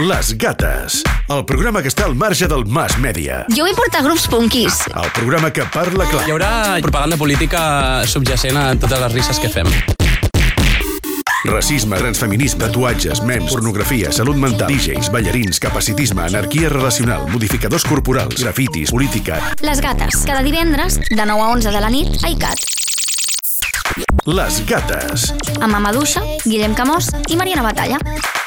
Les Gates, el programa que està al marge del mass media. Jo vull portar grups punkis. El programa que parla Hi clar. haurà propaganda política subjacent a totes les risses que fem. Racisme, transfeminisme, tatuatges, memes, pornografia, salut mental, DJs, ballarins, capacitisme, anarquia relacional, modificadors corporals, grafitis, política... Les gates, cada divendres, de 9 a 11 de la nit, a ICAT. Les Gates, Amb Amaduixa, Guillem Camós i Mariana Batalla.